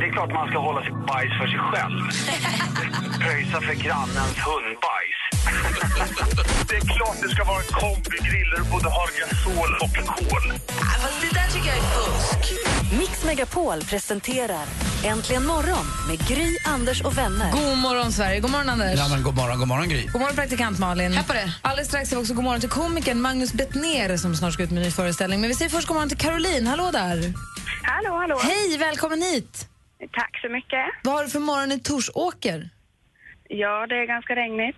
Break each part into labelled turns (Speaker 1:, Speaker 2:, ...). Speaker 1: Det är klart man ska hålla sitt bajs för sig själv. Pröjsa för grannens hundbajs. det är klart det ska vara en kombigrill där du både har gasol och kol.
Speaker 2: Mix Megapol presenterar Äntligen morgon med Gry, Anders och vänner.
Speaker 3: God morgon, Sverige. God morgon, Anders.
Speaker 4: Ja, men god morgon, god morgon Gry.
Speaker 3: God morgon, praktikant Malin. Här på det. Alldeles strax säger vi också god morgon till komikern Magnus Bettner som snart ska ut med en ny föreställning. Men vi säger först god morgon till Caroline. Hallå där.
Speaker 5: Hallå, hallå.
Speaker 3: Hej, välkommen hit.
Speaker 5: Tack så mycket.
Speaker 3: Vad har du för morgon i Torsåker?
Speaker 5: Ja, det är ganska regnigt.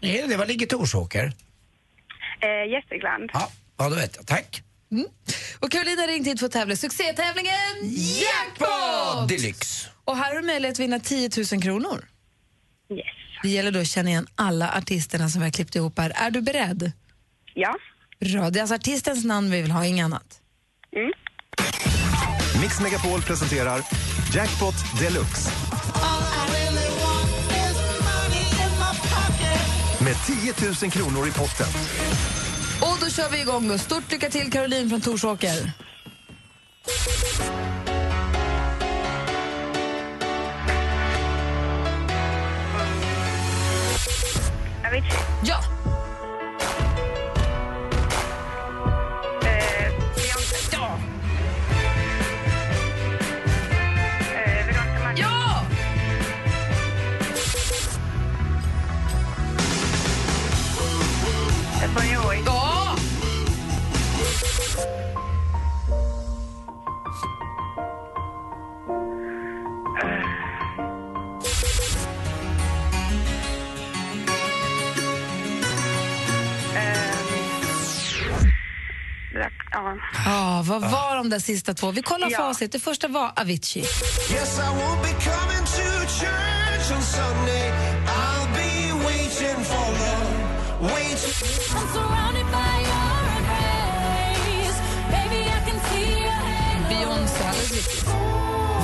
Speaker 4: Är det det? Var ligger Torsåker?
Speaker 5: Eh, Gästrikland.
Speaker 4: Ja, ja, då vet jag. Tack.
Speaker 3: Mm. Och Caroline har ringt hit för att tävla i succétävlingen
Speaker 4: Jackpot
Speaker 3: Jackpot!
Speaker 4: deluxe!
Speaker 3: Och här har du möjlighet att vinna 10 000 kronor.
Speaker 5: Yes.
Speaker 3: Det gäller då att känna igen alla artisterna som vi har klippt ihop här. Är du beredd?
Speaker 5: Ja.
Speaker 3: Bra. Det är alltså artistens namn vi vill ha, inget annat.
Speaker 5: Mm.
Speaker 6: Mix Megapol presenterar Jackpot Deluxe. Med 10 000 kronor i potten.
Speaker 3: Och då kör vi igång då. Stort lycka till Caroline från Torsåker.
Speaker 5: Avicii.
Speaker 3: Ja!
Speaker 5: Eh, Beyoncé.
Speaker 3: Ja!
Speaker 5: Eh, Veronica Maggio.
Speaker 3: Ja!
Speaker 5: Eh, Bon Jovi.
Speaker 3: Ja!
Speaker 5: Black- Ja.
Speaker 3: Ja, vad var de där sista två? Vi kollar
Speaker 5: Ja.
Speaker 3: facit. Det första var Avicii.
Speaker 6: Yes, I won't be coming to church on Sunday. I'll be waiting for love. Waiting.
Speaker 3: Beyoncé, alldeles riktigt.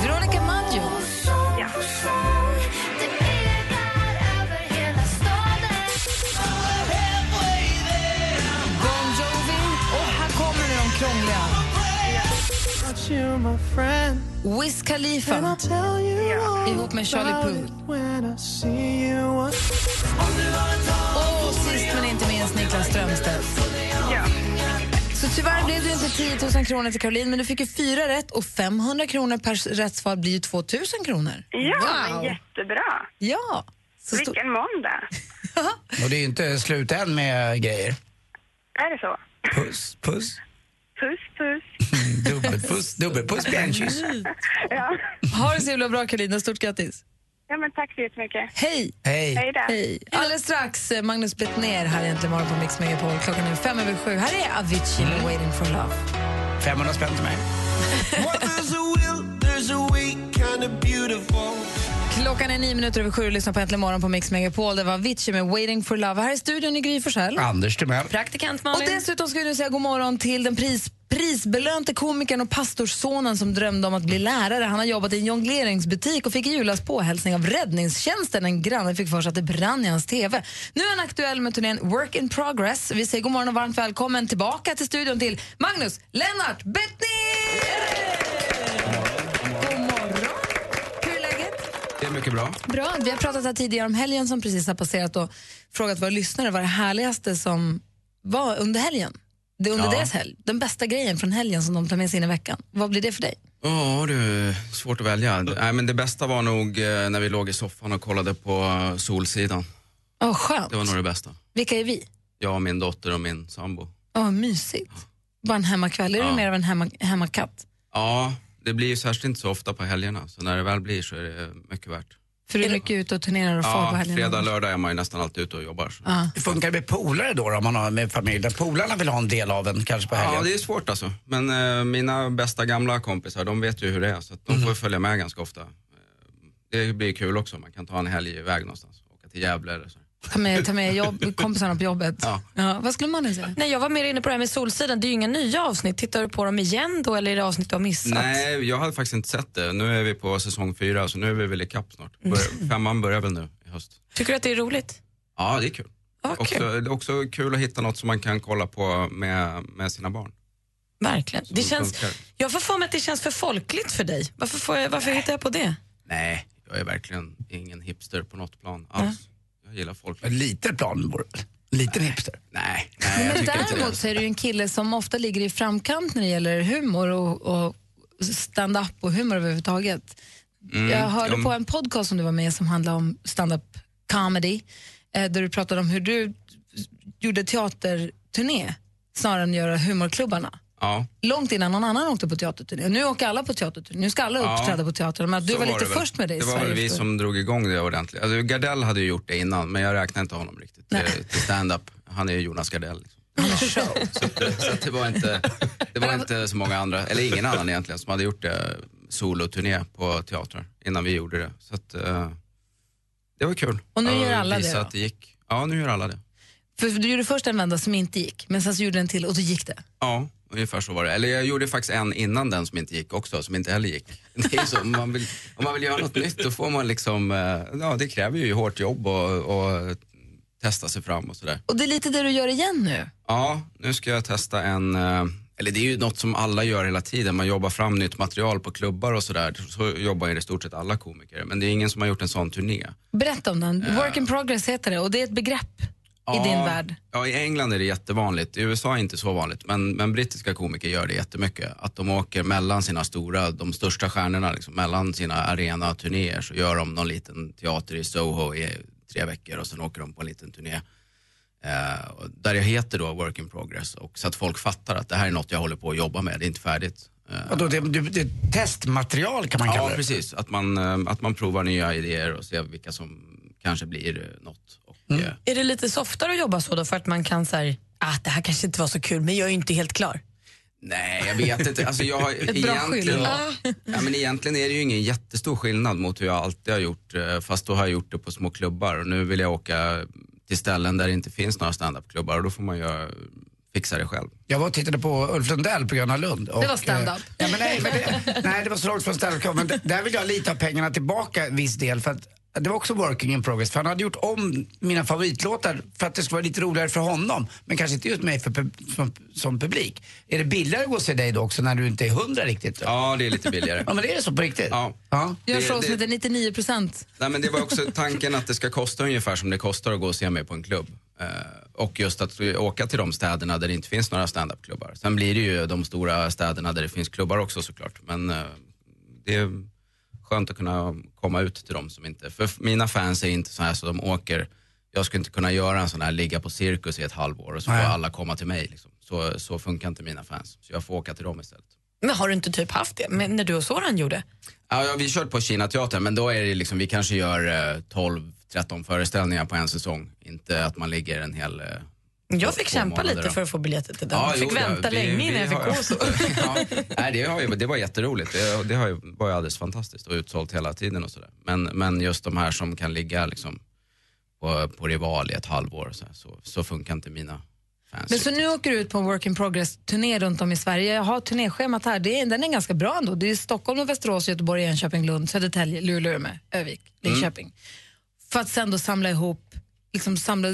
Speaker 3: Veronica Maggio.
Speaker 5: ja.
Speaker 3: Bon Jovi. Och här kommer nu de krångliga. Wiz Khalifa
Speaker 5: ja.
Speaker 3: ihop med Charlie Puth. Och sist men inte minst Niklas Strömstedt.
Speaker 5: ja.
Speaker 3: Så tyvärr blev det ju inte 10 000 kronor till Caroline, men du fick ju fyra rätt och 500 kronor per rätt svar blir ju 2 000 kronor.
Speaker 5: Ja, men
Speaker 3: wow.
Speaker 5: jättebra.
Speaker 3: Ja! Så stor-
Speaker 5: Vilken måndag.
Speaker 4: Och det är ju inte slut än med grejer.
Speaker 5: Är det så?
Speaker 4: Puss, puss,
Speaker 5: Puss, puss.
Speaker 4: dubbelpuss, dubbelpuss, bjärnkyss.
Speaker 5: Ja.
Speaker 3: Ha det så himla bra, Caroline. och Stort grattis.
Speaker 5: ja, men tack så jättemycket.
Speaker 3: Hej!
Speaker 4: Hej.
Speaker 5: Hej då.
Speaker 3: Hej. Alldeles strax eh, Magnus Bettner här egentligen morgon på Mix Megapol. Klockan är fem över sju. Här är Avicii med Waiting for love.
Speaker 4: 500 spänn till mig.
Speaker 3: Klockan är nio minuter över sju och lyssnar på Äntligen morgon på Mix Megapol. Det var Avicii med Waiting for love. Här i studion i Gry Forssell.
Speaker 4: Anders Timell.
Speaker 3: Och dessutom ska vi nu säga god morgon till den pris, prisbelönte komikern och pastorssonen som drömde om att bli lärare. Han har jobbat i en jongleringsbutik och fick i julas påhälsning av räddningstjänsten. En granne fick för sig att det brann i hans TV. Nu är han aktuell med turnén Work in progress. Vi säger god morgon och varmt välkommen tillbaka till studion till Magnus Lennart Bettner! God morgon! Hur är läget?
Speaker 4: Det är mycket bra.
Speaker 3: Bra. Vi har pratat här tidigare om helgen som precis har passerat och frågat våra lyssnare vad det härligaste som var under helgen. Det är under
Speaker 4: Ja.
Speaker 3: deras helg. Den bästa grejen från helgen som de tar med sig in i veckan. Vad blir det för dig?
Speaker 7: Ja du, svårt att välja. Nej, men det bästa var nog eh, när vi låg i soffan och kollade på eh, Solsidan.
Speaker 3: Åh, skönt.
Speaker 7: Det var nog det bästa.
Speaker 3: Vilka är vi?
Speaker 7: Jag, min dotter och min sambo.
Speaker 3: Åh, mysigt. Bara en hemmakväll. Är
Speaker 7: Ja.
Speaker 3: du mer av en hemma, hemmakatt?
Speaker 7: Ja, det blir ju särskilt inte så ofta på helgerna. Så när det väl blir så är det mycket värt.
Speaker 3: För du är mycket ute och turnerar och far på
Speaker 7: Ja,
Speaker 3: helgen?
Speaker 7: fredag, lördag är man ju nästan alltid ute och jobbar. Så.
Speaker 3: Mm. Ja.
Speaker 4: Funkar det med polare då, då om man har med familj? Där polarna vill ha en del av en kanske på helgen?
Speaker 7: Ja, det är svårt alltså. Men eh, mina bästa gamla kompisar, de vet ju hur det är. Så att de
Speaker 4: Mm.
Speaker 7: får följa med ganska ofta. Eh, Det blir kul också. Man kan ta en helg iväg någonstans. Åka till Gävle eller så.
Speaker 3: Ta med, ta med jobb, kompisarna på jobbet. Ja.
Speaker 7: Ja.
Speaker 3: vad skulle man säga?
Speaker 8: Nej, jag var mer inne på det här med Solsidan. Det är ju inga nya avsnitt. Tittar du på dem igen då eller är det avsnitt du har missat?
Speaker 7: Nej, jag hade faktiskt inte sett det. Nu är vi på säsong fyra, så nu är vi väl ikapp snart.
Speaker 4: Mm.
Speaker 7: Bör, femman börjar väl nu i höst.
Speaker 8: Tycker du att det är roligt?
Speaker 7: Ja, det är kul.
Speaker 8: Ja,
Speaker 7: Också,
Speaker 8: kul.
Speaker 7: det är också kul att hitta något som man kan kolla på med, med sina barn.
Speaker 8: Verkligen. Det
Speaker 7: Som
Speaker 8: känns,
Speaker 7: funkar.
Speaker 8: jag får för mig att det känns för folkligt för dig. Varför, får jag, varför hittar jag på det?
Speaker 7: Nej, jag är verkligen ingen hipster på något plan alls. Jag gillar folk.
Speaker 4: En liten plan, vore det. En liten hipster.
Speaker 7: Nej, nej jag
Speaker 3: Men
Speaker 7: tycker inte
Speaker 3: däremot
Speaker 7: det.
Speaker 3: så är du ju en kille som ofta ligger i framkant när det gäller humor och, och stand-up och humor överhuvudtaget.
Speaker 7: Mm,
Speaker 3: Jag hörde
Speaker 7: ja, men-
Speaker 3: på en podcast som du var med i som handlade om stand-up comedy eh, där du pratade om hur du gjorde teaterturné snarare än att göra humorklubbarna.
Speaker 7: Ja,
Speaker 3: Långt innan någon annan åkte på teaterturné. Nu åker alla på teaterturné. Nu ska alla
Speaker 7: Ja,
Speaker 3: uppträda på teatern. Men att du
Speaker 7: så
Speaker 3: var, lite
Speaker 7: det väl.
Speaker 3: först med det i
Speaker 7: Det var
Speaker 3: Sverige.
Speaker 7: väl vi
Speaker 3: förstår jag.
Speaker 7: som drog igång det ordentligt. Alltså, Gardell hade ju gjort det innan, men jag räknar inte honom riktigt till, till stand-up. Han är ju Jonas Gardell. Liksom. Så, att- så att det var, inte, det var inte så många andra, eller ingen annan egentligen, som hade gjort det soloturné på teatrar innan vi gjorde det. Så att, eh, det var kul.
Speaker 3: Och nu
Speaker 7: Att
Speaker 3: gör alla
Speaker 7: visa
Speaker 3: det, då?
Speaker 7: att det gick. Ja, nu gör alla det.
Speaker 3: För du gjorde först en vända som inte gick, men sen så gjorde du en till och då gick det.
Speaker 7: Ja, ungefär så var det. Eller jag gjorde faktiskt en innan den som inte gick också, som inte heller gick. Det är ju så, om, man vill, om man vill göra något nytt då får man liksom, eh, ja det kräver ju hårt jobb och, och testa sig fram och sådär.
Speaker 3: Och det är lite det du gör igen nu.
Speaker 7: Ja, nu ska jag testa en, eh, eller det är ju något som alla gör hela tiden, man jobbar fram nytt material på klubbar och sådär. Så jobbar ju i stort sett alla komiker, men det är ingen som har gjort en sån turné.
Speaker 3: Berätta om den. Work in progress heter det och det är ett begrepp i din värld.
Speaker 7: Ja, i England är det jättevanligt. I USA är det inte så vanligt, men, men brittiska komiker gör det jättemycket. Att de åker mellan sina stora, de största stjärnorna, liksom, mellan sina arenaturnéer så gör de någon liten teater i Soho i tre veckor och sen åker de på en liten turné. Eh, och där jag heter då Work in Progress och så att folk fattar att det här är något jag håller på att jobba med, det är inte färdigt. Eh,
Speaker 4: Och då, det, det, det, testmaterial kan man kalla
Speaker 7: Ja,
Speaker 4: det.
Speaker 7: precis. Att man, eh, att man provar nya idéer och ser vilka som kanske blir eh, något. Och, eh,
Speaker 8: Är det lite softare att jobba så då för att man kan säga att det här kanske inte var så kul men jag är ju inte helt klar.
Speaker 7: Nej, jag vet inte. Alltså, jag,
Speaker 3: Ett bra
Speaker 7: egentligen,
Speaker 3: skydd.
Speaker 7: ja, men egentligen är det ju ingen jättestor skillnad mot hur jag alltid har gjort. eh, Fast då har jag gjort det på små klubbar och nu vill jag åka till ställen där det inte finns några standupklubbar och då får man ju eh, fixa det själv.
Speaker 4: Jag var och tittade på Ulf Lundell på Gröna Lund. Och,
Speaker 3: Det var stand-up.
Speaker 4: eh, nej, men nej, men det, nej, det var så långt från stand-up. Men d- där vill jag lite ha pengarna tillbaka viss del. För att, det var också working in progress. För han hade gjort om mina favoritlåtar för att det skulle vara lite roligare för honom. Men kanske inte just mig för, pub- som, som publik. Är det billigare att gå och se dig då också när du inte är hundra riktigt? Då?
Speaker 7: Ja, det är lite billigare.
Speaker 4: ja, men är det så på riktigt?
Speaker 7: Ja.
Speaker 4: ja.
Speaker 3: Gör
Speaker 7: Det-
Speaker 3: show som
Speaker 7: det-
Speaker 3: heter 99 procent.
Speaker 7: Nej, men det var också tanken att det ska kosta ungefär som det kostar att gå och se mig på en klubb. Eh, och just att åka till de städerna där det inte finns några standupklubbar. Sen blir det ju de stora städerna där det finns klubbar också såklart. Men eh, det är skönt att kunna komma ut till de som inte... För f- mina fans är inte så här så de åker... Jag skulle inte kunna göra en sån här ligga på cirkus i ett halvår och så får
Speaker 4: Nej.
Speaker 7: alla komma till mig. Liksom. Så, så funkar inte mina fans. Så jag får åka till dem istället.
Speaker 8: Men har du inte typ haft det? Men när du och Soran gjorde?
Speaker 7: Ja, ja, vi kört på Kinateatern, men då är det liksom, vi kanske gör eh, 12-13 föreställningar på en säsong. Inte att man ligger en hel... Eh,
Speaker 8: Jag
Speaker 7: två
Speaker 8: fick kämpa
Speaker 7: månader
Speaker 8: lite
Speaker 7: då.
Speaker 8: för att få biljetter till den.
Speaker 7: Ja,
Speaker 8: jag fick
Speaker 7: jo, ja,
Speaker 8: vänta
Speaker 7: vi-
Speaker 8: länge
Speaker 7: vi
Speaker 8: innan jag fick
Speaker 7: har-
Speaker 8: gå. Så.
Speaker 7: ja, nej, det, har ju, det var jätteroligt. Det, det har ju, var ju alldeles fantastiskt och utsålt hela tiden och sådär. Men, men just de här som kan ligga liksom på, på Rival i ett halvår, och så, här, så, så funkar inte mina fans.
Speaker 3: Men så nu åker du ut på en work in progress-turné runt om i Sverige. Jag har turnéschemat här. Det är, den är ganska bra ändå. Det är Stockholm, och Västerås, Göteborg, Enköping, Lund, Södertälje, Luleå, Umeå, Övik, Linköping. För att sen då samla ihop, liksom samla,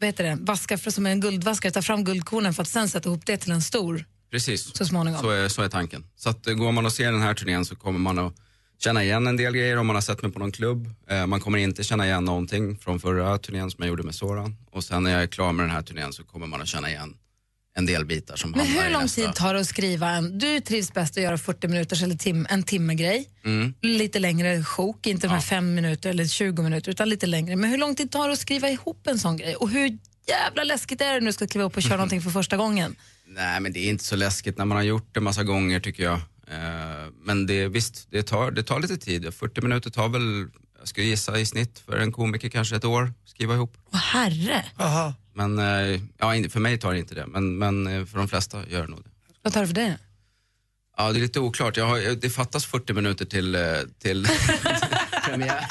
Speaker 3: vad heter det, vaska för, som en guldvaskare, ta fram guldkornen för att sen sätta ihop det till en stor.
Speaker 7: Precis.
Speaker 3: så småningom.
Speaker 7: Så är, så är tanken. Så att eh, går man och ser den här turnén så kommer man att känna igen en del grejer om man har sett mig på någon klubb. Eh, man kommer inte känna igen någonting från förra turnén som jag gjorde med Soran. Och sen när jag är klar med den här turnén så kommer man att känna igen en del bitar som
Speaker 3: Men
Speaker 7: hamnar
Speaker 3: hur
Speaker 7: i
Speaker 3: lång
Speaker 7: nästa.
Speaker 3: tid tar det att skriva en... Du trivs bäst att göra 40 minuters eller tim, en timme-grej. Lite längre sjok, inte de här fem minuter eller 20 minuter utan lite längre. Men hur lång tid tar det att skriva ihop en sån grej? Och hur jävla läskigt är det när du ska kliva upp och köra någonting för första gången?
Speaker 7: Nej, men det är inte så läskigt när man har gjort det massa gånger tycker jag. Eh, Men det, visst, det tar, det tar lite tid. 40 minuter tar väl, jag skulle gissa i snitt för en komiker kanske ett år, skriva ihop.
Speaker 8: Åh, herre.
Speaker 4: Aha.
Speaker 7: Men eh, ja, in- för mig tar det inte det, men, men eh, för de flesta gör det nog det.
Speaker 3: Vad tar det för dig?
Speaker 7: Ja, det är lite oklart. Jag har, det fattas 40 minuter eh, till, eh, till, premiär.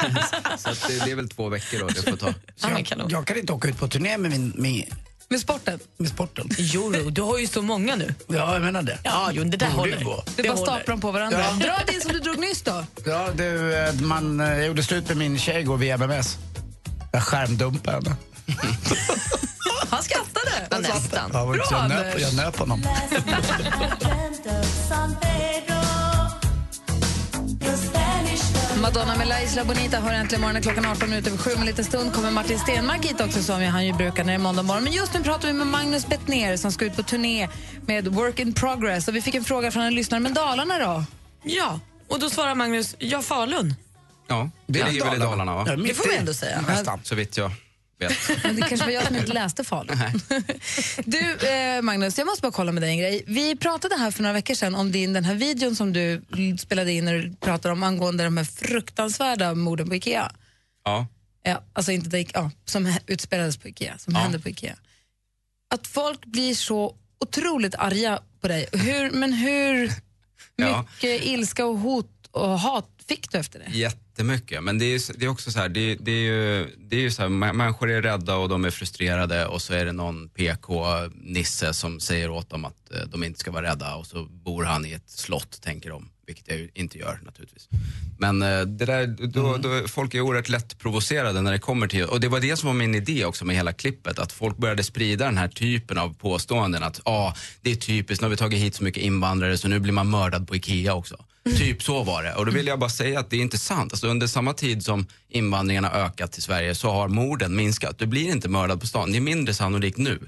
Speaker 7: Så att det, det är väl två veckor då, det får ta.
Speaker 4: Så jag, jag kan inte åka ut på turné med min... Med,
Speaker 8: med sporten?
Speaker 4: Med sporten.
Speaker 8: Jo, jo, du har ju så många nu.
Speaker 4: Ja, jag menar det.
Speaker 8: Ja, jo, det där
Speaker 4: Borde
Speaker 8: håller.
Speaker 4: ju gå.
Speaker 3: Du bara staplar dem på varandra.
Speaker 4: Ja.
Speaker 3: Dra din som du drog nyss då.
Speaker 4: Ja, du, eh, man, eh, jag gjorde slut med min tjej igår via MMS. Jag skärmdumpade henne.
Speaker 8: Han skrattade. Ja, nästan.
Speaker 4: Ja,
Speaker 8: Bra,
Speaker 4: jag, nöp,
Speaker 8: Anders.
Speaker 4: jag nöp honom.
Speaker 3: Madonna med La Isla Bonita hör äntligen morgonen klockan 18 minuter över sju. Om en liten stund kommer Martin Stenmark hit också som ju han ju brukar när det är måndag morgon. Men just nu pratar vi med Magnus Bettner som ska ut på turné med Work in Progress. Och vi fick en fråga från en lyssnare. Men Dalarna då?
Speaker 8: Ja, och då svarar Magnus, ja Falun.
Speaker 7: Ja, det ligger väl i Dalarna va?
Speaker 8: Det får vi ändå säga.
Speaker 7: Så vitt jag vet.
Speaker 3: Men det kanske var jag som inte läste Falun. Du, eh, Magnus, jag måste bara kolla med dig en grej. Vi pratade här för några veckor sedan om din, den här videon som du spelade in när du pratade om angående de här fruktansvärda morden på Ikea.
Speaker 7: Ja.
Speaker 3: Ja, alltså inte det, ja, som hä- utspelades på Ikea, som hände på Ikea. Att folk blir så otroligt arga på dig. Hur, men hur
Speaker 7: Ja.
Speaker 3: mycket ilska och hot och hat fick du efter det?
Speaker 7: Jättemycket, men det är, ju- det är också så här, det, det är ju, det är ju så här, mä- människor är rädda och de är frustrerade och så är det någon PK-nisse som säger åt dem att eh, de inte ska vara rädda och så bor han i ett slott, tänker de, vilket jag ju inte gör naturligtvis. Men eh, det där, då, då, folk är oerhört lätt provocerade när det kommer till, och det var det som var min idé också med hela klippet, att folk började sprida den här typen av påståenden att ah, det är typiskt, nu har vi tagit hit så mycket invandrare så nu blir man mördad på IKEA också. Typ så var det. Och då vill jag bara säga att det är inte sant. Alltså under samma tid som invandringen har ökat till Sverige så har morden minskat. Du blir inte mördad på stan. Det är mindre sannolikt nu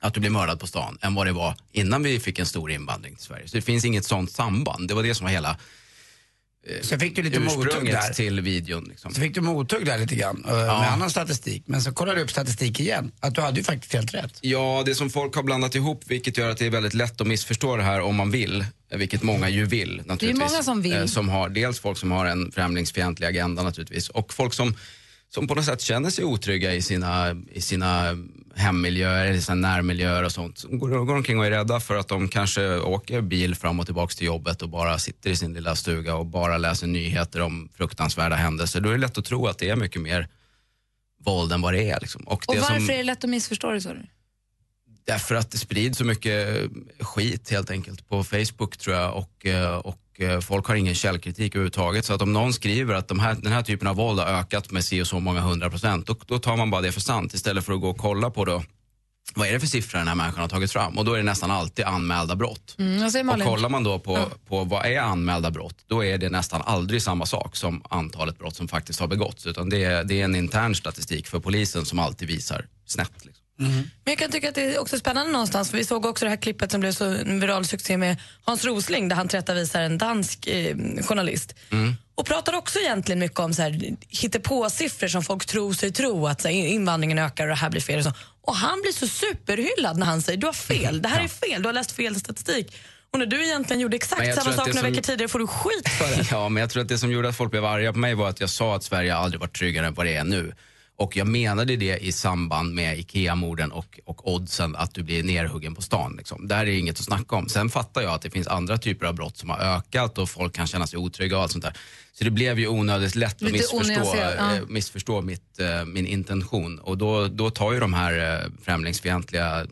Speaker 7: att du blir mördad på stan än vad det var innan vi fick en stor invandring till Sverige. Så det finns inget sånt samband. Det var det som var hela eh,
Speaker 4: Så fick du lite mothugg där.
Speaker 7: ursprunget till videon. Liksom.
Speaker 4: Så fick du mothugg där lite grann eh, med annan statistik. Men så kollade du upp statistik igen. Att du hade ju faktiskt helt rätt.
Speaker 7: Ja, det som folk har blandat ihop, vilket gör att det är väldigt lätt att missförstå det här om man vill, vilket många ju vill naturligtvis.
Speaker 3: många som vill.
Speaker 7: Eh, Som har, dels folk som har en främlingsfientlig agenda naturligtvis och folk som, som på något sätt känner sig otrygga i sina, i sina hemmiljöer, i sina närmiljöer och sånt. Som går, går omkring och är rädda för att de kanske åker bil fram och tillbaka till jobbet och bara sitter i sin lilla stuga och bara läser nyheter om fruktansvärda händelser. Då är det lätt att tro att det är mycket mer våld än vad det är. Liksom.
Speaker 3: Och
Speaker 7: det
Speaker 3: varför
Speaker 7: som-
Speaker 3: är det lätt att missförstå det? sa du?
Speaker 7: Därför att det sprids så mycket skit helt enkelt på Facebook tror jag och, eh, och eh, folk har ingen källkritik överhuvudtaget. Så att om någon skriver att de här, den här typen av våld har ökat med si och så många hundra procent, då, då tar man bara det för sant istället för att gå och kolla på då, vad är det för siffror den här människan har tagit fram? Och då är det nästan alltid anmälda brott.
Speaker 3: Mm, vad säger
Speaker 7: Och
Speaker 3: Malin?
Speaker 7: kollar man då på, på vad är anmälda brott, då är det nästan aldrig samma sak som antalet brott som faktiskt har begåtts. Utan det är, det är en intern statistik för polisen som alltid visar snett. Liksom.
Speaker 8: Men jag kan tycka att det är också spännande någonstans för vi såg också det här klippet som blev så en viral succé med Hans Rosling där han tillrättavisar en dansk eh, journalist.
Speaker 7: Mm.
Speaker 8: Och pratar också egentligen mycket om så här, hittepåsiffror som folk tror sig tro att så här, invandringen ökar och det här blir fel. Och, så. och han blir så superhyllad när han säger du har fel, det här är fel, du har läst fel statistik. Och när du egentligen gjorde
Speaker 7: Men
Speaker 8: exakt
Speaker 7: jag tror
Speaker 8: samma
Speaker 7: att
Speaker 8: sak
Speaker 7: det
Speaker 8: några
Speaker 7: som-
Speaker 8: veckor tidigare får du skit för det.
Speaker 7: Ja, men jag tror att det som gjorde att folk blev arga på mig var att jag sa att Sverige aldrig varit tryggare än vad det är nu. Och jag menade det i samband med IKEA-morden och, och oddsen att du blir nerhuggen på stan. Liksom. Där är det inget att snacka om. Sen fattar jag att det finns andra typer av brott som har ökat och folk kan känna sig otrygga och allt sånt där. Så det blev ju onödigt lätt att
Speaker 3: Lite
Speaker 7: missförstå,
Speaker 3: onyanserat, ja.
Speaker 7: eh, missförstå mitt, eh, min intention. Och då, då tar ju de här eh, främlingsfientliga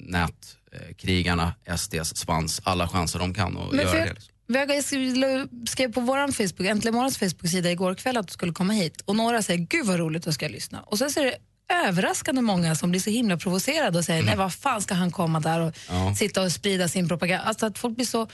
Speaker 7: nätkrigarna, SDs svans, alla chanser de kan att
Speaker 3: Men
Speaker 7: göra
Speaker 3: för
Speaker 7: det.
Speaker 3: jag,
Speaker 7: Liksom.
Speaker 3: jag, jag skrev, skrev på vår Facebook, Äntligen morgons Facebook-sida igår kväll att du skulle komma hit och några säger gud vad roligt, då ska jag lyssna. Och sen så är det överraskande många som blir så himla provocerade och säger nej vad fan ska han komma där och
Speaker 7: Mm. Ja.
Speaker 3: sitta och sprida sin propaganda. Alltså att folk blir så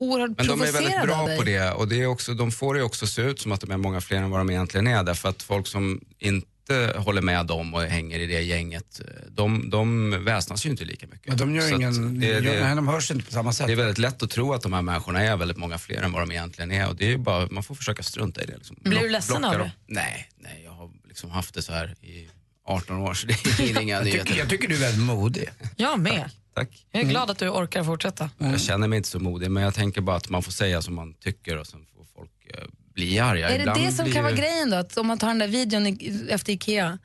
Speaker 3: oerhört
Speaker 7: Men de är
Speaker 3: provocerade
Speaker 7: väldigt
Speaker 3: av
Speaker 7: bra
Speaker 3: dig.
Speaker 7: på det och det är också, de får det också se ut som att de är många fler än vad de egentligen är därför att folk som inte håller med dem och hänger i det gänget, de, de väsnas ju inte lika mycket.
Speaker 4: Men de gör
Speaker 7: Så att
Speaker 4: ingen...
Speaker 7: det,
Speaker 4: gör, nej,
Speaker 7: det,
Speaker 4: de hörs inte på samma sätt.
Speaker 7: det är väldigt lätt att tro att de här människorna är väldigt många fler än vad de egentligen är och det är ju bara, man får försöka strunta i det. Liksom.
Speaker 8: Blir du
Speaker 7: Block-
Speaker 8: ledsen
Speaker 7: blocka
Speaker 8: av
Speaker 7: dem.
Speaker 8: det?
Speaker 7: Nej, nej, jag har liksom haft det så här i 18 år så det är inga
Speaker 4: Jag tycker,
Speaker 7: nyheter.
Speaker 4: jag tycker du är väldigt modig.
Speaker 8: Jag med.
Speaker 7: Tack.
Speaker 3: Mm.
Speaker 8: Jag är glad att du orkar fortsätta.
Speaker 7: Jag känner mig inte så modig men jag tänker bara att man får säga som man tycker och sen får folk eh, bli arga.
Speaker 3: Är
Speaker 7: Ibland
Speaker 3: det det som
Speaker 7: blir
Speaker 3: kan vara
Speaker 7: ju-
Speaker 3: grejen då? Att om man tar den där videon i, efter Ikea,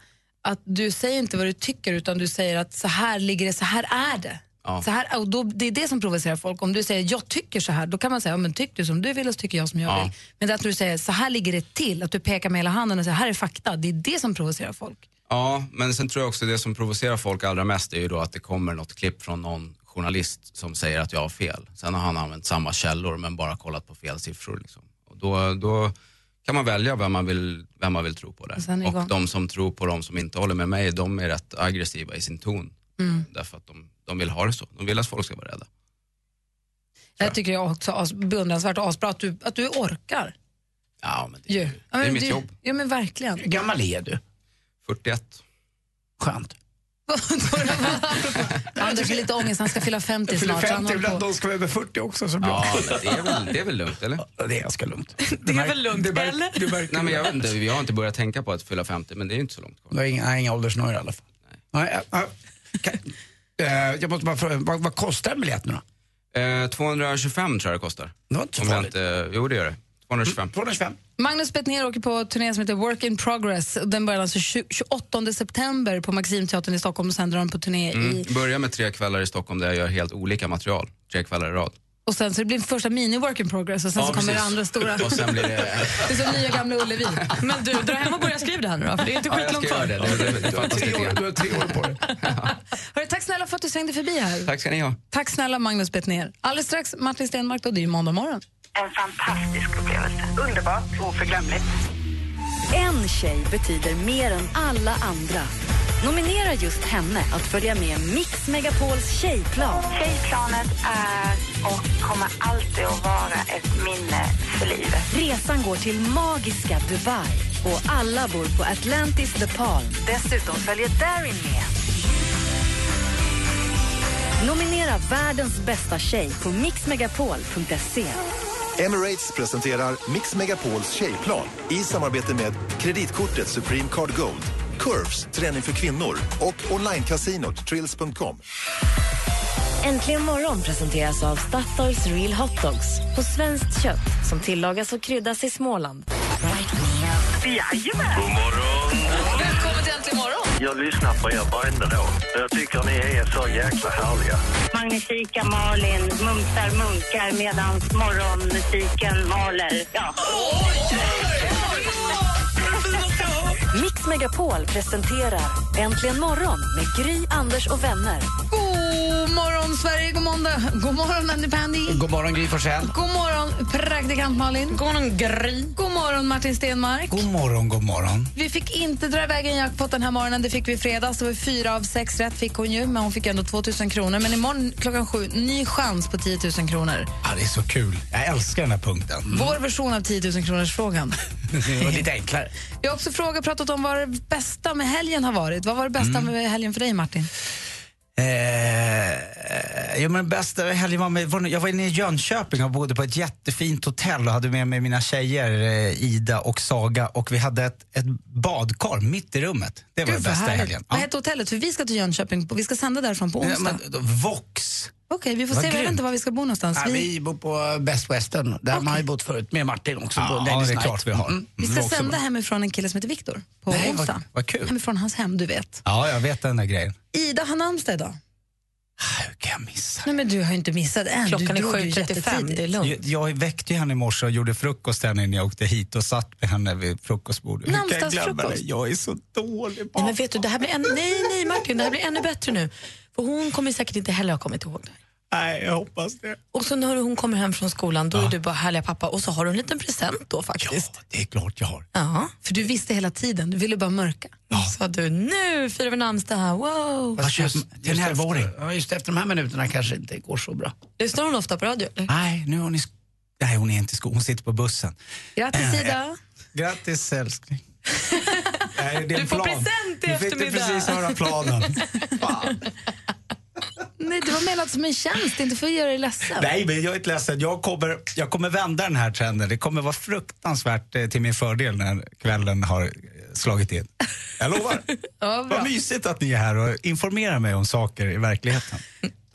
Speaker 3: att du säger inte vad du tycker utan du säger att så här ligger det, så här är det.
Speaker 7: Ja.
Speaker 3: Så här, och då, det är det som provocerar folk. Om du säger jag tycker så här, då kan man säga ja, men tycker du som du vill och så tycker jag som jag
Speaker 7: Ja.
Speaker 3: vill. Men det att du säger så här ligger det till, att du pekar med hela handen och säger här är fakta, det är det som provocerar folk.
Speaker 7: Ja, men sen tror jag också det som provocerar folk allra mest är ju då att det kommer något klipp från någon journalist som säger att jag har fel. Sen har han använt samma källor men bara kollat på fel siffror. Liksom. Och då, då kan man välja vem man vill, vem man vill tro på
Speaker 3: Och sen
Speaker 7: där.
Speaker 3: är det igång.
Speaker 7: Och de som tror på de som inte håller med mig, de är rätt aggressiva i sin ton.
Speaker 3: Mm.
Speaker 7: Därför att de, de vill ha det så. De vill att folk ska vara rädda.
Speaker 3: Jag tycker jag också as- beundransvärt och asbra att du, att du orkar.
Speaker 7: Ja, men
Speaker 3: ju. Ja, men
Speaker 7: är mitt
Speaker 3: du,
Speaker 7: jobb.
Speaker 3: Ja, men verkligen.
Speaker 4: Hur gammal är du?
Speaker 7: 41.
Speaker 4: Skönt.
Speaker 3: Anders har lite ångest, han ska fylla 50
Speaker 4: Jag fyller
Speaker 3: snart. så han
Speaker 4: 50,
Speaker 3: håller
Speaker 4: ibland
Speaker 3: på.
Speaker 4: de ska vara över 40 också. Så bra.
Speaker 7: Ja, men det är väl, det är väl lugnt, eller?
Speaker 4: Ja, det är ganska lugnt.
Speaker 8: Det är väl lugnt, eller?
Speaker 4: Du märker
Speaker 7: Nej, men jag vet inte. Jag har inte börjat tänka på att fylla 50, men det är ju inte så långt kvar.
Speaker 4: Du har inga, nej, inga åldersnöjor i alla fall. Nej. Nej, äh, kan, eh, jag måste bara fråga, vad, vad kostar en biljett nu då?
Speaker 7: Eh, 225 tror jag det kostar.
Speaker 4: Det var inte så
Speaker 7: Om jag
Speaker 4: farligt.
Speaker 7: inte, jo, det gör det. 225.
Speaker 4: 225.
Speaker 3: Magnus Bettner åker på turné som heter Work in Progress. Och Den börjar alltså 20, 28 september på Maximteatern i Stockholm och sen drar de på turné i...
Speaker 7: Mm. Börja med tre kvällar i Stockholm där jag gör helt olika material. Tre kvällar i rad.
Speaker 3: Och sen så det blir en första mini-Work in Progress och sen
Speaker 7: Ja,
Speaker 3: så kommer
Speaker 7: precis.
Speaker 3: det andra stora.
Speaker 7: Och sen blir det...
Speaker 3: Det är som nya gamla Ullevi.
Speaker 8: Men du, dra hem och börja skriva det här nu då, för det är inte
Speaker 7: Ja, jag
Speaker 8: skitlångt
Speaker 7: ska
Speaker 8: kvar.
Speaker 7: göra det. det, det, det fattas
Speaker 4: Tre
Speaker 7: lite
Speaker 4: år,
Speaker 7: grann.
Speaker 4: du har tre år på dig.
Speaker 3: Hörru, tack snälla för att du svängde förbi här.
Speaker 7: Tack ska ni ha.
Speaker 3: Tack snälla Magnus Bettner. Alldeles strax Martin Stenmarck och det är ju måndag morgon.
Speaker 5: En fantastisk upplevelse. Underbart, oförglömligt.
Speaker 2: En tjej betyder mer än alla andra. Nominera just henne att följa med Mix Megapols tjejplan.
Speaker 5: Tjejplanet är och kommer alltid att vara ett minne för livet.
Speaker 2: Resan går till magiska Dubai och alla bor på Atlantis The Palm. Dessutom följer Darin med. Nominera världens bästa tjej på mixmegapol.se.
Speaker 9: Emirates presenterar Mix Megapols tjejplan i samarbete med kreditkortet Supreme Card Gold, Curves, träning för kvinnor och onlinekasinot Trills.com.
Speaker 2: Äntligen morgon presenteras av Statoils Real Hot Dogs på svenskt kött som tillagas och kryddas i Småland.
Speaker 5: Jajamän!
Speaker 1: God morgon.
Speaker 3: Välkommen till Äntligen morgon.
Speaker 1: Jag lyssnar på er varenda dag. Jag tycker ni är så jäkla härliga.
Speaker 5: Magnifika Malin mumsar munkar medan morgonmusiken maler. Ja.
Speaker 2: Mix Megapol presenterar Äntligen morgon med Gry, Anders och vänner.
Speaker 3: God morgon Sverige, god måndag. God morgon Andy Pandy.
Speaker 4: God morgon Gry Forssell.
Speaker 3: God morgon praktikant Malin. God morgon Gry. God morgon Martin Stenmark.
Speaker 4: God morgon, god morgon.
Speaker 3: Vi fick inte dra iväg en jackpot den här morgonen. Det fick vi i fredags. Det var fyra av sex rätt fick hon ju, men hon fick ändå 2 000 kronor. Men imorgon klockan sju, ny chans på 10 000 kronor.
Speaker 4: Ja, det är så kul. Jag älskar den här punkten.
Speaker 3: Vår version av 10 000 kronors frågan.
Speaker 4: Det var lite enklare.
Speaker 3: Vi har också frågat, pratat om vad det bästa med helgen har varit. Vad var det
Speaker 10: Mm.
Speaker 3: bästa med helgen för dig, Martin?
Speaker 10: Eh, jo, men bästa helgen var med, var, jag var inne i Jönköping och bodde på ett jättefint hotell och hade med mig mina tjejer eh, Ida och Saga och vi hade ett, ett badkar mitt i rummet. Det var
Speaker 3: Gud,
Speaker 10: det
Speaker 3: vad
Speaker 10: bästa
Speaker 3: härligt.
Speaker 10: helgen.
Speaker 3: Vad hette hotellet? För vi ska till Jönköping. på- Vi ska sända därifrån på
Speaker 10: Ja,
Speaker 3: onsdag.
Speaker 10: Eh, men, då- Vox.
Speaker 3: Okej, vi får
Speaker 10: vad
Speaker 3: se. Vi vet
Speaker 10: grymt.
Speaker 3: inte var vi ska bo någonstans.
Speaker 4: Ja,
Speaker 3: vi...
Speaker 4: vi bor på Best Western. Där har man ju bott förut med Martin också. på
Speaker 10: Ja,
Speaker 4: Ladies
Speaker 10: det är
Speaker 4: Night.
Speaker 10: klart vi har.
Speaker 4: Mm.
Speaker 3: Vi ska
Speaker 10: Det var också
Speaker 3: sända
Speaker 10: bra.
Speaker 3: hemifrån en kille som heter Viktor på
Speaker 10: Nej, vad-
Speaker 3: onsdag.
Speaker 10: vad kul.
Speaker 3: Hemifrån hans hem, du vet.
Speaker 10: Ja, jag vet den där grejen.
Speaker 3: Ida har namnsdag idag.
Speaker 10: Hur kan jag missa?
Speaker 3: Nej, men du har ju inte missat än.
Speaker 8: Klockan
Speaker 3: du
Speaker 8: är
Speaker 3: drog ju
Speaker 8: 7.35,
Speaker 3: jättetidigt.
Speaker 8: det är lugnt.
Speaker 10: Jag, jag väckte ju henne i morse och gjorde frukost här innan jag åkte hit och satt med henne vid frukostbordet. Hur kan jag glömma det?
Speaker 3: Namnsdagsfrukost.
Speaker 10: Jag är så dålig på
Speaker 8: Nej, men vet du, det här blir än... nej, nej Martin, det här blir ännu bättre nu. För hon kommer säkert inte heller ha kommit ihåg det.
Speaker 10: Nej, jag hoppas det.
Speaker 8: Och så när hon kommer hem från skolan, då är du bara härliga pappa. Och så har du en liten present då faktiskt.
Speaker 10: Ja, det är klart jag har.
Speaker 8: Ja.
Speaker 3: För du visste hela tiden, du ville bara mörka.
Speaker 8: Så sa du, nu firar vi namnsdag här, wow.
Speaker 4: Fast just,
Speaker 10: Det är en
Speaker 4: just,
Speaker 10: elvaåring.
Speaker 4: efter, ja, just efter de här minuterna kanske inte går så bra.
Speaker 8: Lyssnar hon ofta på radio? eller?
Speaker 10: Nej, nu har ni... sk- Nej, hon är inte i skolan. Hon sitter på bussen.
Speaker 3: Grattis
Speaker 10: Eh,
Speaker 3: Ida!
Speaker 10: Grattis älskling. Nej, det är en
Speaker 8: Du får
Speaker 10: plan.
Speaker 8: present i
Speaker 10: Du fick
Speaker 8: eftermiddag.
Speaker 10: precis höra planen.
Speaker 3: Nej, det var menat som en tjänst, inte för att göra dig ledsen.
Speaker 10: Nej, men jag är inte ledsen. Jag kommer, jag kommer vända den här trenden. Det kommer vara fruktansvärt eh, till min fördel när kvällen har eh, slagit in. Jag lovar.
Speaker 3: Ja, bra.
Speaker 10: Vad mysigt att ni är här och informerar mig om saker i verkligheten.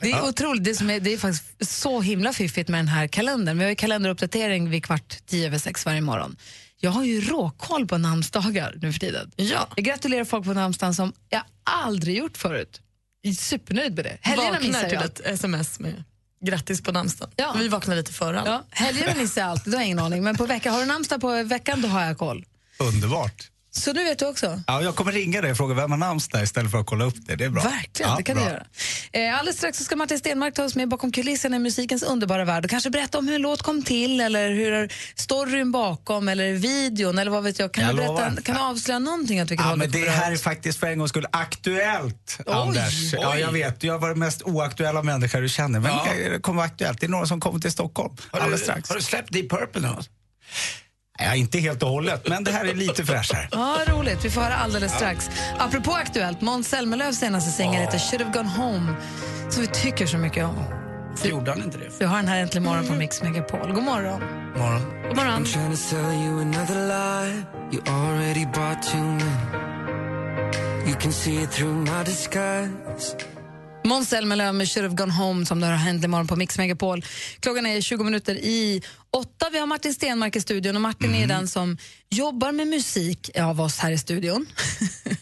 Speaker 3: Det är otroligt, det, som är, det är faktiskt så himla fiffigt med den här kalendern. Vi har ju kalenderuppdatering vid kvart tio över sex varje morgon. Jag har ju råkoll på namnsdagar nu för tiden.
Speaker 8: Ja.
Speaker 3: Jag gratulerar folk på namnsdagen som jag aldrig gjort förut. supernöjd med det.
Speaker 11: Helgerna
Speaker 3: Helgerna
Speaker 11: missar
Speaker 3: missar
Speaker 11: till
Speaker 3: jag.
Speaker 11: ett sms med grattis på namnsdagen.
Speaker 3: Ja.
Speaker 11: Vi vaknade lite före alla.
Speaker 3: Ja, helgerna missar jag alltid, då har jag ingen aning. Men på veckan, har du namnsdag på veckan, då har jag koll.
Speaker 10: Underbart.
Speaker 3: Så nu vet du också.
Speaker 10: Ja, jag kommer ringa dig och fråga vem har namnsdag istället för att kolla upp det. Det är bra.
Speaker 3: Verkligen,
Speaker 10: ja,
Speaker 3: det kan
Speaker 10: bra.
Speaker 3: du göra. Eh, alldeles strax så ska Martin Stenmark ta oss med bakom kulisserna i musikens underbara värld och kanske berätta om hur en låt kom till eller hur storyn bakom eller videon eller vad vet jag. Kan,
Speaker 10: Jag
Speaker 3: du,
Speaker 10: lovar.
Speaker 3: berätta, kan du avslöja någonting åt vilket
Speaker 10: Ja,
Speaker 3: håll
Speaker 10: men
Speaker 3: det
Speaker 10: det
Speaker 3: kommer att
Speaker 10: här är faktiskt för en gångs skull aktuellt,
Speaker 3: Oj.
Speaker 10: Anders. Ja,
Speaker 3: Oj.
Speaker 10: jag vet. Du har varit den mest oaktuella människa du känner. Men det kommer vara aktuellt. Det är några som kommer till Stockholm
Speaker 12: Har du,
Speaker 10: alldeles strax.
Speaker 12: har du släppt Deep Purple nu? alltså?
Speaker 10: Ja, inte helt och hållet, men det här är lite fräschare.
Speaker 3: Ja, roligt. Vi får höra alldeles strax. Apropå Aktuellt, Måns Zelmerlöws senaste singel heter Should have gone home, som vi tycker så mycket om.
Speaker 12: Varför gjorde han inte det?
Speaker 3: Du har den här äntligen morgon på Mix Megapol. God morgon.
Speaker 12: Morgon.
Speaker 3: God morgon.
Speaker 13: I'm trying to sell you another lie. You already bought too many. You can see it through my disguise.
Speaker 3: Måns Zelmerlöw med Should have gone home som det har hänt imorgon på Mix Megapol. Klockan är 20 minuter i åtta. Vi har Martin Stenmark i studion och Martin är
Speaker 10: Mm.
Speaker 3: den som jobbar med musik av oss här i studion.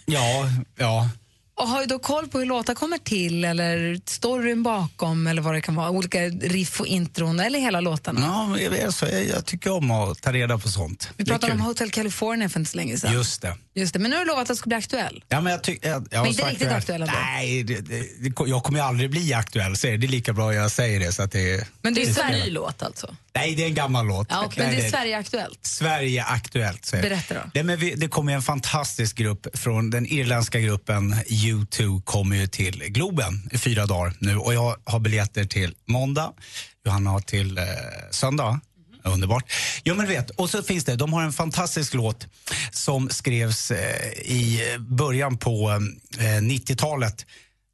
Speaker 10: Ja, ja.
Speaker 3: Och har ju då koll på hur låtar kommer till eller storyn bakom eller vad det kan vara. Olika riff och intron eller hela låtarna.
Speaker 10: ja men jag, alltså, jag, jag tycker om att ta reda på sånt.
Speaker 3: Vi
Speaker 10: Det är
Speaker 3: pratade om
Speaker 10: kul.
Speaker 3: Hotel California för inte så länge sedan.
Speaker 10: Just det.
Speaker 3: Just det. Men nu har du lovat att det ska bli aktuell.
Speaker 10: Ja, men jag tyck, jag, jag
Speaker 3: Men
Speaker 10: var
Speaker 3: inte
Speaker 10: så
Speaker 3: riktigt aktuell ändå.
Speaker 10: Nej, det, det, det, jag kommer ju aldrig bli aktuell, så är det det är lika bra jag säger det. Så att det
Speaker 3: Men det är
Speaker 10: det
Speaker 3: Sverige-
Speaker 10: spelar-
Speaker 11: Ny låt alltså.
Speaker 10: Nej, det är en gammal låt.
Speaker 3: Ja,
Speaker 10: Nej,
Speaker 3: men det är Sverige-aktuellt.
Speaker 10: Sverige Aktuellt. Säger. jag.
Speaker 3: Berätta då.
Speaker 10: Nej, men vi, det kommer ju en fantastisk grupp från den irländska gruppen U2 kommer ju till Globen i fyra dagar nu och jag har biljetter till måndag, Johanna har till eh, söndag.
Speaker 3: Mhm.
Speaker 10: Underbart. Ja, men du vet, och så finns det, de har en fantastisk låt som skrevs eh, i början på eh, 90-talet,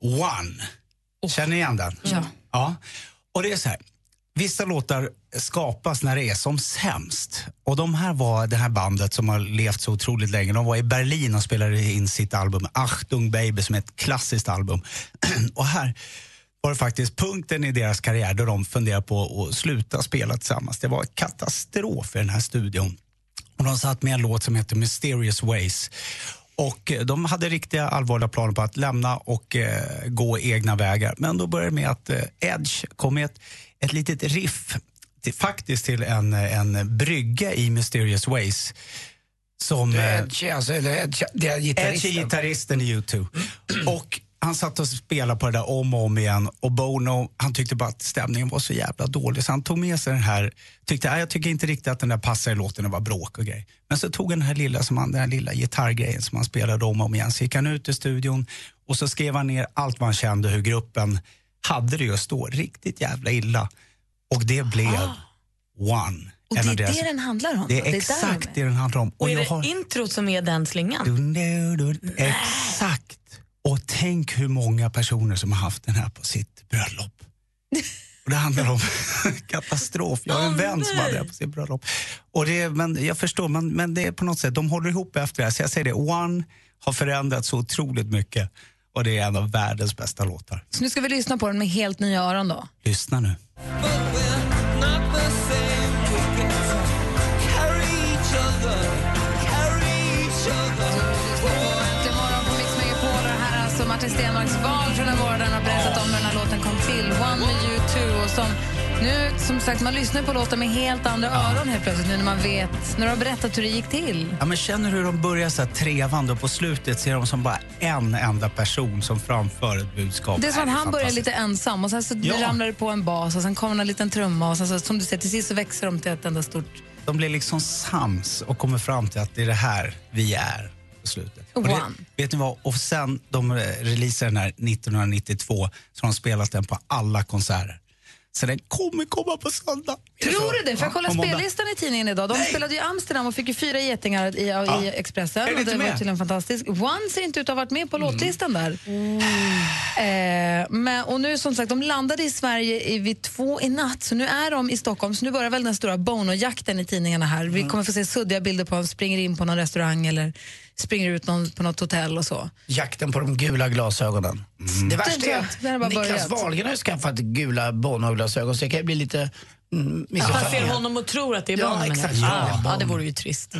Speaker 10: One. Känner ni igen den? Ja. ja. Och det är så här, vissa låtar skapas när det är som sämst. Och de här var det här bandet som har levt så otroligt länge. De var i Berlin och spelade in sitt album Achtung Baby som är ett klassiskt album. och här var det faktiskt punkten i deras karriär då de funderade på att sluta spela tillsammans. Det var katastrof i den här studion. Och de satt med en låt som heter Mysterious Ways. Och eh, de hade riktiga allvarliga planer på att lämna och eh, gå egna vägar. Men då började det med att eh, Edge kom med ett, ett litet riff till, faktiskt till en, eh, en brygga i Mysterious Ways. Som, eh,
Speaker 12: Edge, alltså, eller Edge, det är gitarristen.
Speaker 10: Edge är gitarristen i U2.
Speaker 3: Mm.
Speaker 10: Och han satt och spelade på det där om och om igen och Bono han tyckte bara att stämningen var så jävla dålig så han tog med sig den här, tyckte "Nej, jag tycker inte riktigt att den där passar i låten, det var bråk och grejer. Men så tog han den här lilla, som han, den här lilla gitarrgrejen som han spelade om och om igen, så gick han ut i studion och så skrev han ner allt vad han kände hur gruppen hade det just då, riktigt jävla illa. Och det blev One.
Speaker 3: Ah. Och det
Speaker 10: en av
Speaker 3: är
Speaker 10: deras-
Speaker 3: det den handlar om.
Speaker 10: Det
Speaker 3: Det är
Speaker 10: är
Speaker 3: där
Speaker 10: exakt det den handlar om.
Speaker 11: Och, är
Speaker 10: jag
Speaker 11: det
Speaker 10: har-
Speaker 11: introt som är den slingan?
Speaker 10: du, nu, du, exakt. Och tänk hur många personer som har haft den här på sitt bröllop. Och det handlar om katastrof. Jag har en vän som hade det här på sitt bröllop. Och det, men jag förstår, men, men det är på något sätt, de håller ihop efter det här. Så jag säger det, One har förändrats så otroligt mycket och det är en av världens bästa låtar.
Speaker 3: Så nu ska vi lyssna på den med helt nya öron då.
Speaker 10: Lyssna nu.
Speaker 14: Not the same. We can carry each other, carry each other.
Speaker 3: Äntligen morgon på Mix Megapol. Det här är alltså Martin Stenmarks val från den morgonen har berättat om hur den här låten kom till. One med you two. Och som, nu, som sagt, man lyssnar på låtar med helt andra öron helt plötsligt nu när man vet, när du har berättat hur det gick till.
Speaker 10: Ja, men känner du hur de börjar så här trevande och på slutet ser de som bara en enda person som framför ett budskap.
Speaker 3: Det är som att
Speaker 10: Nej,
Speaker 3: han börjar
Speaker 10: fantastiskt.
Speaker 3: lite ensam och sen så
Speaker 10: Ja.
Speaker 3: ramlar det på en bas och sen kommer en liten trumma och sen så, som du ser, till sist så växer de till ett enda stort...
Speaker 10: De blir liksom sams och kommer fram till att det är det här vi är på slutet. Och
Speaker 3: One.
Speaker 10: det, vet ni vad? Och sen de eh, releasade den här 1992 så har de spelat den på alla konserter. Så den kommer komma på söndag.
Speaker 3: Tror du det? För
Speaker 10: Ja,
Speaker 3: jag kollade
Speaker 10: på måndag.
Speaker 3: spellistan i tidningen idag. De spelade ju i Amsterdam och fick ju fyra getingar i,
Speaker 10: Ja.
Speaker 3: i Expressen.
Speaker 10: Är det
Speaker 3: och
Speaker 10: inte
Speaker 3: det var
Speaker 10: med?
Speaker 3: tydligen fantastiskt. One ser inte ut att ha varit med på låtlistan där. Eh, men, och nu som sagt, de landade i Sverige i- vid två i natt, så nu är de i Stockholm. Så nu börjar väl den stora Bono-jakten i tidningarna här. Vi kommer få se suddiga bilder på honom, springer in på någon restaurang eller springer ut någon, på något hotell och så.
Speaker 12: Jakten på de gula glasögonen.
Speaker 3: Mm.
Speaker 12: Det värsta
Speaker 3: Den-
Speaker 12: är
Speaker 3: den har bara
Speaker 12: att Niklas
Speaker 3: börjat.
Speaker 12: Wahlgren har ju skaffat gula Bono-glasögon så det kan ju bli lite mm,
Speaker 11: Att man ser
Speaker 12: missuppfattningar.
Speaker 11: honom och tror att det är
Speaker 12: Ja,
Speaker 11: barnen. Ah,
Speaker 12: exakt.
Speaker 11: Ja,
Speaker 12: Ja.
Speaker 11: ja, det vore ju trist.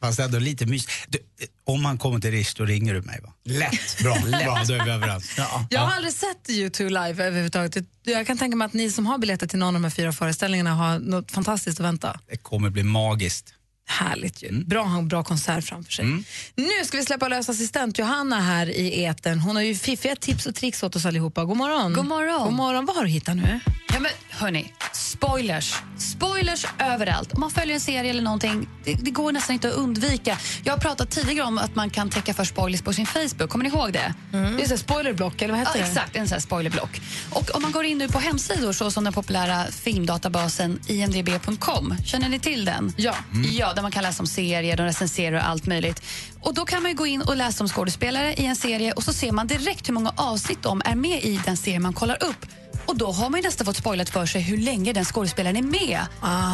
Speaker 10: Fast ändå lite mys. Du, eh, om han kommer till Rish, då ringer du mig va? Lätt! Bra, bra då är vi överens. Ja.
Speaker 3: Jag har aldrig sett U2 live överhuvudtaget. Jag kan tänka mig att ni som har biljetter till någon av de här fyra föreställningarna har något fantastiskt att vänta.
Speaker 10: Det kommer bli magiskt.
Speaker 3: Härligt ju. Bra, bra konsert framför sig.
Speaker 10: Mm.
Speaker 3: Nu ska vi släppa lös assistent Johanna här i eten. Hon har ju fiffiga tips och tricks åt oss allihopa. God morgon.
Speaker 15: God morgon.
Speaker 3: God morgon. Vad har du hittat nu?
Speaker 15: Ja, men hörni, spoilers. Spoilers överallt. Om man följer en serie eller någonting, det, det går nästan inte att undvika. Jag har pratat tidigare om att man kan täcka för spoilers på sin Facebook. Kommer ni ihåg det?
Speaker 8: Mm.
Speaker 3: Det är så här spoilerblock, eller vad heter
Speaker 15: ja,
Speaker 3: det?
Speaker 15: Exakt, en sån här spoilerblock. Och om man går in nu på hemsidor så som den populära filmdatabasen imdb.com, känner ni till den? Ja. ja där man kan läsa om serier, de recenserar och allt möjligt. Och Då kan man ju gå in och läsa om skådespelare i en serie och så ser man direkt hur många avsnitt de är med i den serie man kollar upp. Och Då har man ju nästan fått spoilat för sig hur länge den skådespelaren är med.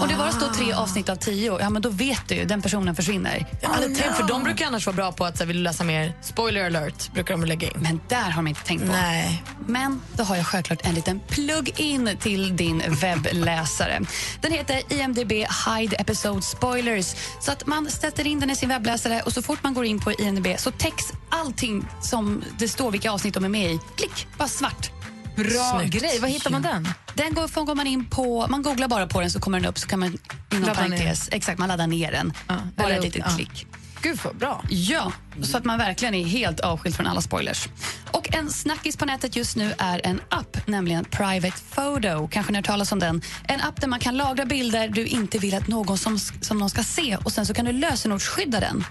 Speaker 15: Om det bara står tre avsnitt av tio, ja men då vet du ju, den personen försvinner.
Speaker 8: Jag har aldrig tänkt, för de brukar annars vara bra på att så här, vill du läsa mer, spoiler alert, brukar de lägga in.
Speaker 15: Men där har de inte tänkt på.
Speaker 8: Nej.
Speaker 15: Men då har jag självklart en liten plug-in till din webbläsare. Den heter IMDB Hide Episode Spoilers. Så att man sätter in den i sin webbläsare och så fort man går in på IMDB så täcks allting som det står vilka avsnitt de är med i. Klick, bara svart.
Speaker 3: Bra grej. Var hittar man den?
Speaker 15: Den går, får- går man in på, man googlar bara på den så kommer den upp så kan man inom
Speaker 3: Ladda ner.
Speaker 15: parentes, exakt, man laddar ner den. bara
Speaker 3: eller
Speaker 15: ett
Speaker 3: upp-
Speaker 15: litet
Speaker 3: ja.
Speaker 15: klick.
Speaker 3: Gud vad bra.
Speaker 15: Ja, så att man verkligen är helt avskild från alla spoilers. Och en snackis på nätet just nu är en app, nämligen Private Photo. Kanske ni har hört talas om den? En app där man kan lagra bilder du inte vill att någon som, som någon ska se och sen så kan du lösenordsskydda den.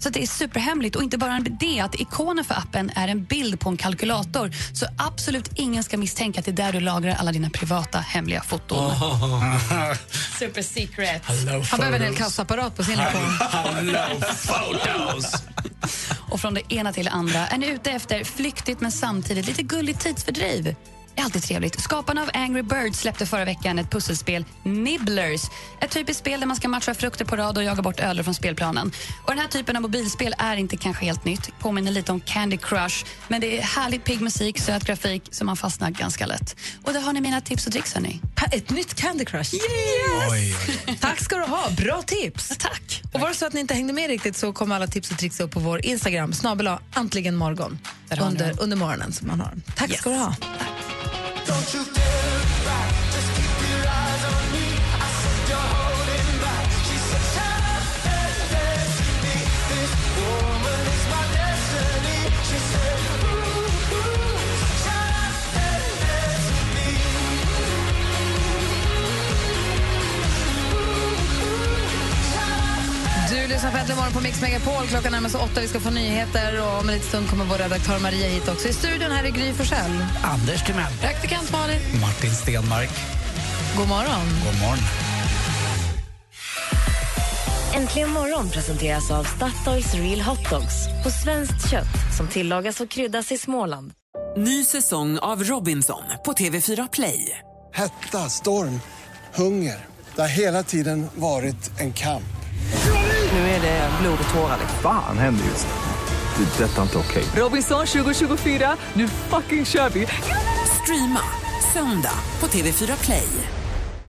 Speaker 15: Så att det är superhemligt och inte bara det att ikonen för appen är en bild på en kalkylator så absolut ingen ska misstänka att det är där du lagrar alla dina privata hemliga foton. Super secret.
Speaker 8: Oh. Hello,
Speaker 3: Han behöver en hel
Speaker 8: photos.
Speaker 3: kassaapparat på sin lektion.
Speaker 8: Hello,
Speaker 15: photos. Och från det ena till det andra. Är ni ute efter flyktigt men samtidigt lite gulligt tidsfördriv? Det är alltid trevligt. Skaparna av Angry Birds släppte förra veckan ett pusselspel, Nibblers. Ett typiskt spel där man ska matcha frukter på rad och jaga bort ödlor från spelplanen. Och Den här typen av mobilspel är inte kanske helt nytt. Påminner lite om Candy Crush. Men det är härligt pigg musik, söt grafik, så man fastnar ganska lätt. Och där har ni mina tips och tricks, hörni.
Speaker 3: Ett nytt Candy Crush.
Speaker 10: Oj,
Speaker 3: Tack ska du ha. Bra tips.
Speaker 15: Tack.
Speaker 3: Och var det så att ni inte hängde med riktigt så kommer alla tips och tricks upp på vår Instagram, snabel äntligen morgon. Under, under morgonen som man har. Tack ska du ha.
Speaker 6: Don't you dare back, just keep your eyes on me. I said you're holding back. She said, Shut up and dance with me. This woman is my destiny. She said, Ooh, ooh, shut up and dance with me.
Speaker 3: Du lyssnar på Äntligen morgon på Mix Megapol. Klockan närmar sig åtta. Vi ska få nyheter och om en liten stund kommer vår redaktör Maria hit också. I studion här är Gry Forssell.
Speaker 10: Anders Timell.
Speaker 3: Praktikant Malin.
Speaker 10: Martin Stenmark.
Speaker 3: God morgon.
Speaker 10: God morgon.
Speaker 16: Äntligen morgon presenteras av Statoils Real Hot Dogs på svenskt kött som tillagas och kryddas i Småland.
Speaker 13: Ny säsong av Robinson på TV4 Play.
Speaker 17: Hetta, storm, hunger. Det har hela tiden varit en kamp.
Speaker 13: Nu är det blod och tårar. liksom.
Speaker 18: Fan händer just det. Det är detta inte okej.
Speaker 13: Robinson 2024, nu fucking kör vi! Streama söndag på TV4 Play.